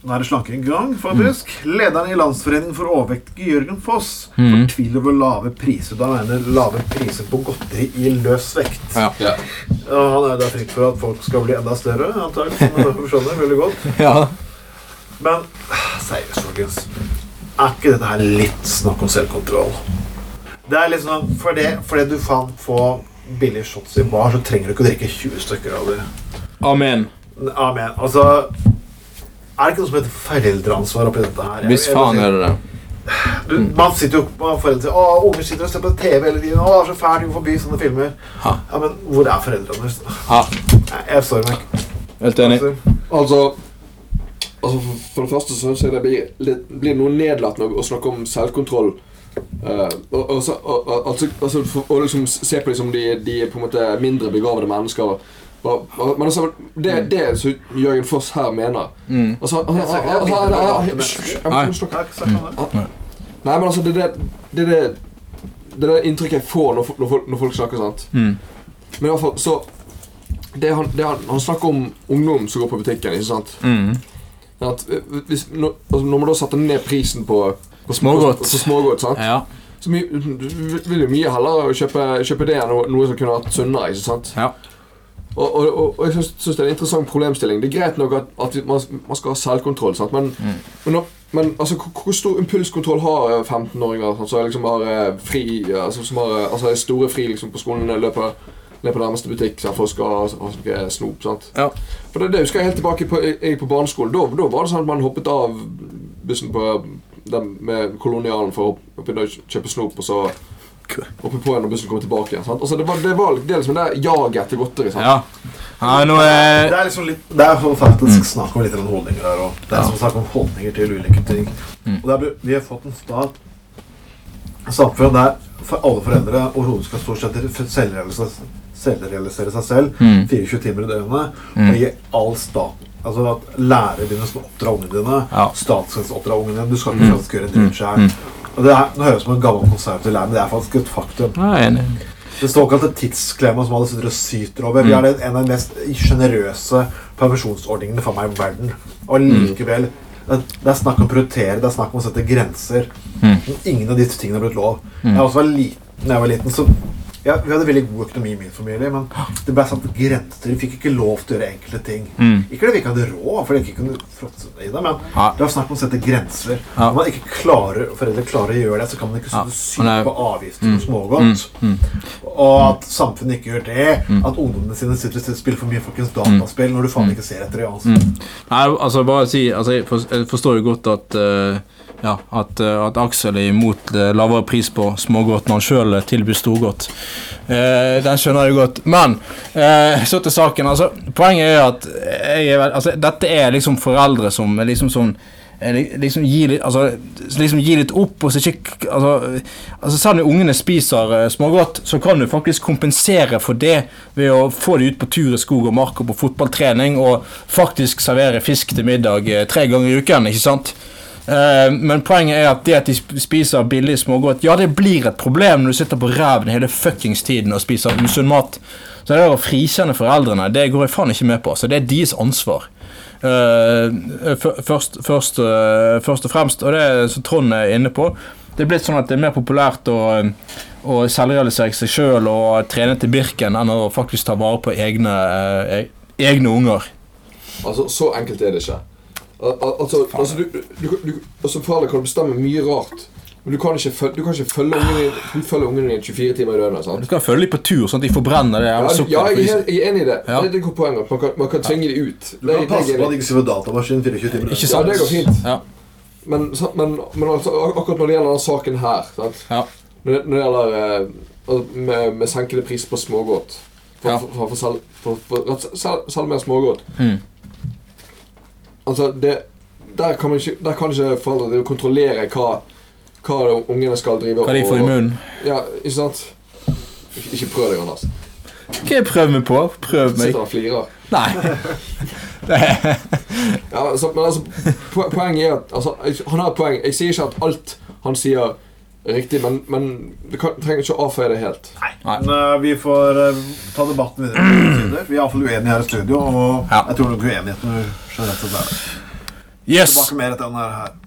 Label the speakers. Speaker 1: Nå er det slanking i gang, faktisk.
Speaker 2: Mm.
Speaker 1: Lederen i Landsforeningen for overvektige, Jørgen Foss, fortviler over lave priser. Da mener lave priser på godteri i løs vekt.
Speaker 2: Ja.
Speaker 3: Ja.
Speaker 1: Ja, han er jo da frykt for at folk skal bli enda større, antagelig. Som du skjønner veldig godt.
Speaker 2: ja.
Speaker 1: Men seriøst, folkens. Er ikke dette her litt snakk om selvkontroll? Det er litt sånn Fordi, fordi du faen får billige shots i bar, så trenger du ikke å drikke 20 stykker av det.
Speaker 2: Amen.
Speaker 1: Amen. Altså Er det ikke noe som heter foreldreansvar oppi dette her? Jeg-
Speaker 2: Hvis
Speaker 1: jeg-
Speaker 2: faen er det det.
Speaker 1: du, Man sitter jo på foreldre sier, Å, unger sitter og ser på TV hele tiden. Å, det er så fælt, vi må forby sånne filmer.
Speaker 2: Ha.
Speaker 1: Ja, Men hvor er foreldrene?
Speaker 2: Ha.
Speaker 1: Nei, Jeg står meg ikke.
Speaker 2: Helt enig.
Speaker 1: Altså,
Speaker 3: Altså, altså for- For det første så syns jeg det blir, litt, blir noe nedlatt når å snakke om selvkontroll. Eh, og, og, så- og, og, altså, altså, for, og liksom se på dem som de, de er på en måte mindre begavede mennesker. Og, og, men altså, det er det som Jørgen Foss her mener.
Speaker 2: Mm.
Speaker 3: Altså, han, han, han, han, han, han, han, Hysj, jeg må
Speaker 2: Nei.
Speaker 3: snakke.
Speaker 1: takk, snakk om det.
Speaker 3: Nei, men altså, det er det, det, er det, det, er det inntrykket jeg får når, fo- når, folk, når folk snakker sant.
Speaker 2: Mm.
Speaker 3: Men i hvert fall, så det han, det han, han snakker om ungdom som går på butikken. ikke sant?
Speaker 2: Mm.
Speaker 3: At eh, hvis, når, altså, når man da setter ned prisen på, på
Speaker 2: Smågodt.
Speaker 3: på, på smågodt sant?
Speaker 2: Ja.
Speaker 3: Så my, du vil jo mye heller kjøpe, kjøpe det enn noe, noe som kunne vært sunnere. ikke sant?
Speaker 2: Ja.
Speaker 3: Og, og, og, og jeg syns det er en interessant problemstilling. Det er greit nok at, at vi- man, man skal ha selvkontroll, sant? men,
Speaker 2: Mm.
Speaker 3: men, nå- men altså, hvor, hvor stor impulskontroll har eh, 15-åringer sant, som liksom har eh, fri ja, altså, som har, eh, altså, er store fri liksom, på skolen, eh, løper, løper nærmeste butikk sant, for å skal ha ha noe snop? sant?
Speaker 2: Ja.
Speaker 3: For det, det husker jeg helt tilbake på, jeg, jeg på barneskolen. Da, da var det sånn at man hoppet av bussen på den med kolonialen for å hopp- å begynne å kj- kjøpe snop, og så hoppe på igjen når bussen kommer tilbake igjen. sant? Altså, det, var, det var det er liksom det jaget etter godteri. sant?
Speaker 2: ja. ja nå er
Speaker 1: Det er liksom litt Det er for faktisk snakk om litt om holdninger her òg. Det er som snakk om holdninger til ulike ting. Og det er, bl- vi har fått en stat et samfunn der for alle foreldre overhodet skal stort sett f- selvrealisere, selvrealisere seg selv 24 timer i døgnet. Og gi all stat Altså at lærere dine skal oppdra ungene dine.
Speaker 2: Ja.
Speaker 1: Staten skal oppdra ungene dine. Du skal ikke faktisk gjøre en dritt sjæl. Og det er, det høres ut som en gammel konservativ lærer, men det er faktisk et faktum.
Speaker 2: Ja, jeg er enig.
Speaker 1: Det såkalte tidsklemma som alle sitter og syter over.
Speaker 2: Mm.
Speaker 1: Vi har den- en av de mest sjenerøse permisjonsordningene for meg i verden. Og
Speaker 2: Mm.
Speaker 1: likevel det det er snakk om å prioritere, det er snakk om å sette grenser.
Speaker 2: Mm.
Speaker 1: Men Ingen av disse tingene har blitt lov. Jeg også var liten, når jeg var liten, så ja, Vi hadde veldig god økonomi i min familie, men det ble satt grenser. Vi fikk ikke lov til å gjøre enkelte ting. Ikke fordi vi ikke hadde råd, fordi vi ikke kunne fråtse i det, men
Speaker 2: Mm. Ja.
Speaker 1: det var snakk om å sette grenser.
Speaker 2: Ja.
Speaker 1: Når man ikke klarer, foreldre klarer å gjøre det, så kan man ikke
Speaker 2: Ja,
Speaker 1: ja.
Speaker 2: men
Speaker 1: syke
Speaker 2: det er- Mm.
Speaker 1: på avgifter og smågodt. Og at samfunnet ikke gjør det.
Speaker 2: Mm.
Speaker 1: At ungdommene sine sitter og spiller for mye fuckings dataspill når du faen ikke ser etter dem.
Speaker 2: Mm.
Speaker 1: Altså.
Speaker 2: Nei, altså bare si altså, jeg for- Jeg forstår jo godt at eh, Ja, at, eh, at Aksel er imot eh, lavere pris på smågodt når han sjøl tilbyr storgodt. Eh, den skjønner jeg jo godt. Men eh, så til saken. altså Poenget er at jeg er, vel- altså, dette er liksom foreldre som er liksom sånn eh, li- Liksom gi litt, altså, liksom gi litt opp og så ikke k- altså, altså Selv om ungene spiser eh, smågodt, så kan du faktisk kompensere for det ved å få dem ut på tur i skog og mark og på fotballtrening og faktisk servere fisk til middag eh, tre ganger i uken. ikke sant? Eh, men poenget er at det at de sp- spiser billig smågodt Ja, det blir et problem når du sitter på ræven hele fuckings tiden og spiser usunn mat. Så det der å frikjenne foreldrene, det går jeg faen ikke med på. Så det er deres ansvar. Eh, f- først, først, eh, først og fremst, og det er som Trond er inne på Det er blitt sånn at det er mer populært å, eh, å selvrealisere seg sjøl og trene til Birken enn å faktisk ta vare på egne, eh, e- egne unger.
Speaker 3: Altså, Så enkelt er det ikke. Al al altså, altså, du, du, du, altså Foreldre kan bestemme mye rart, men du kan ikke, føl du kan ikke følge ungen din, fullfølge ungen din 24 timer i døgnet. sant?
Speaker 2: Du skal følge dem på tur, sånn at de forbrenner det.
Speaker 3: Ja,
Speaker 2: jævla sukkeret
Speaker 3: ja, jeg
Speaker 2: på
Speaker 3: er,
Speaker 2: isen.
Speaker 3: helt- jeg er enig i det.
Speaker 2: Ja.
Speaker 3: Det er et godt poeng at man kan, man kan tvinge de ut.
Speaker 1: Du kan passe på at de ikke sitter ved datamaskinen 24 timer.
Speaker 2: Ikke
Speaker 3: Ja,
Speaker 2: sant?
Speaker 3: det går fint.
Speaker 2: Ja,
Speaker 3: Men, sant, men, men altså, ak- akkurat når det gjelder denne saken her sant?
Speaker 2: ja.
Speaker 3: Når det, når det gjelder eh, altså, med, med senkede pris på smågodt For,
Speaker 2: Ja.
Speaker 3: for, for, for, selv, for, for, rett- selv, selv mer smågodt
Speaker 2: Mm.
Speaker 3: Altså, det der kan, man ikke, der kan ikke foreldre drive og kontrollere hva, hva det ungene skal drive
Speaker 2: Hva de får i munnen.
Speaker 3: Ja, ikke sant? Ikke, ikke prøv deg, Anders.
Speaker 2: Hva jeg prøver meg på? Prøv meg.
Speaker 3: Sitter og flirer.
Speaker 2: Nei.
Speaker 3: Ja, altså, men altså, po- poenget er at altså, jeg- Han har et poeng. Jeg sier ikke at alt han sier, er riktig, men, men du kan, trenger ikke å avfeie det helt.
Speaker 2: Nei.
Speaker 1: Men, eh, vi får eh, ta debatten videre. på begge sider. Vi er iallfall uenige her i studio, og
Speaker 2: Ja.
Speaker 1: jeg tror nok uenigheten generelt sett er der.
Speaker 2: Yes!
Speaker 1: Tilbake mer til den her.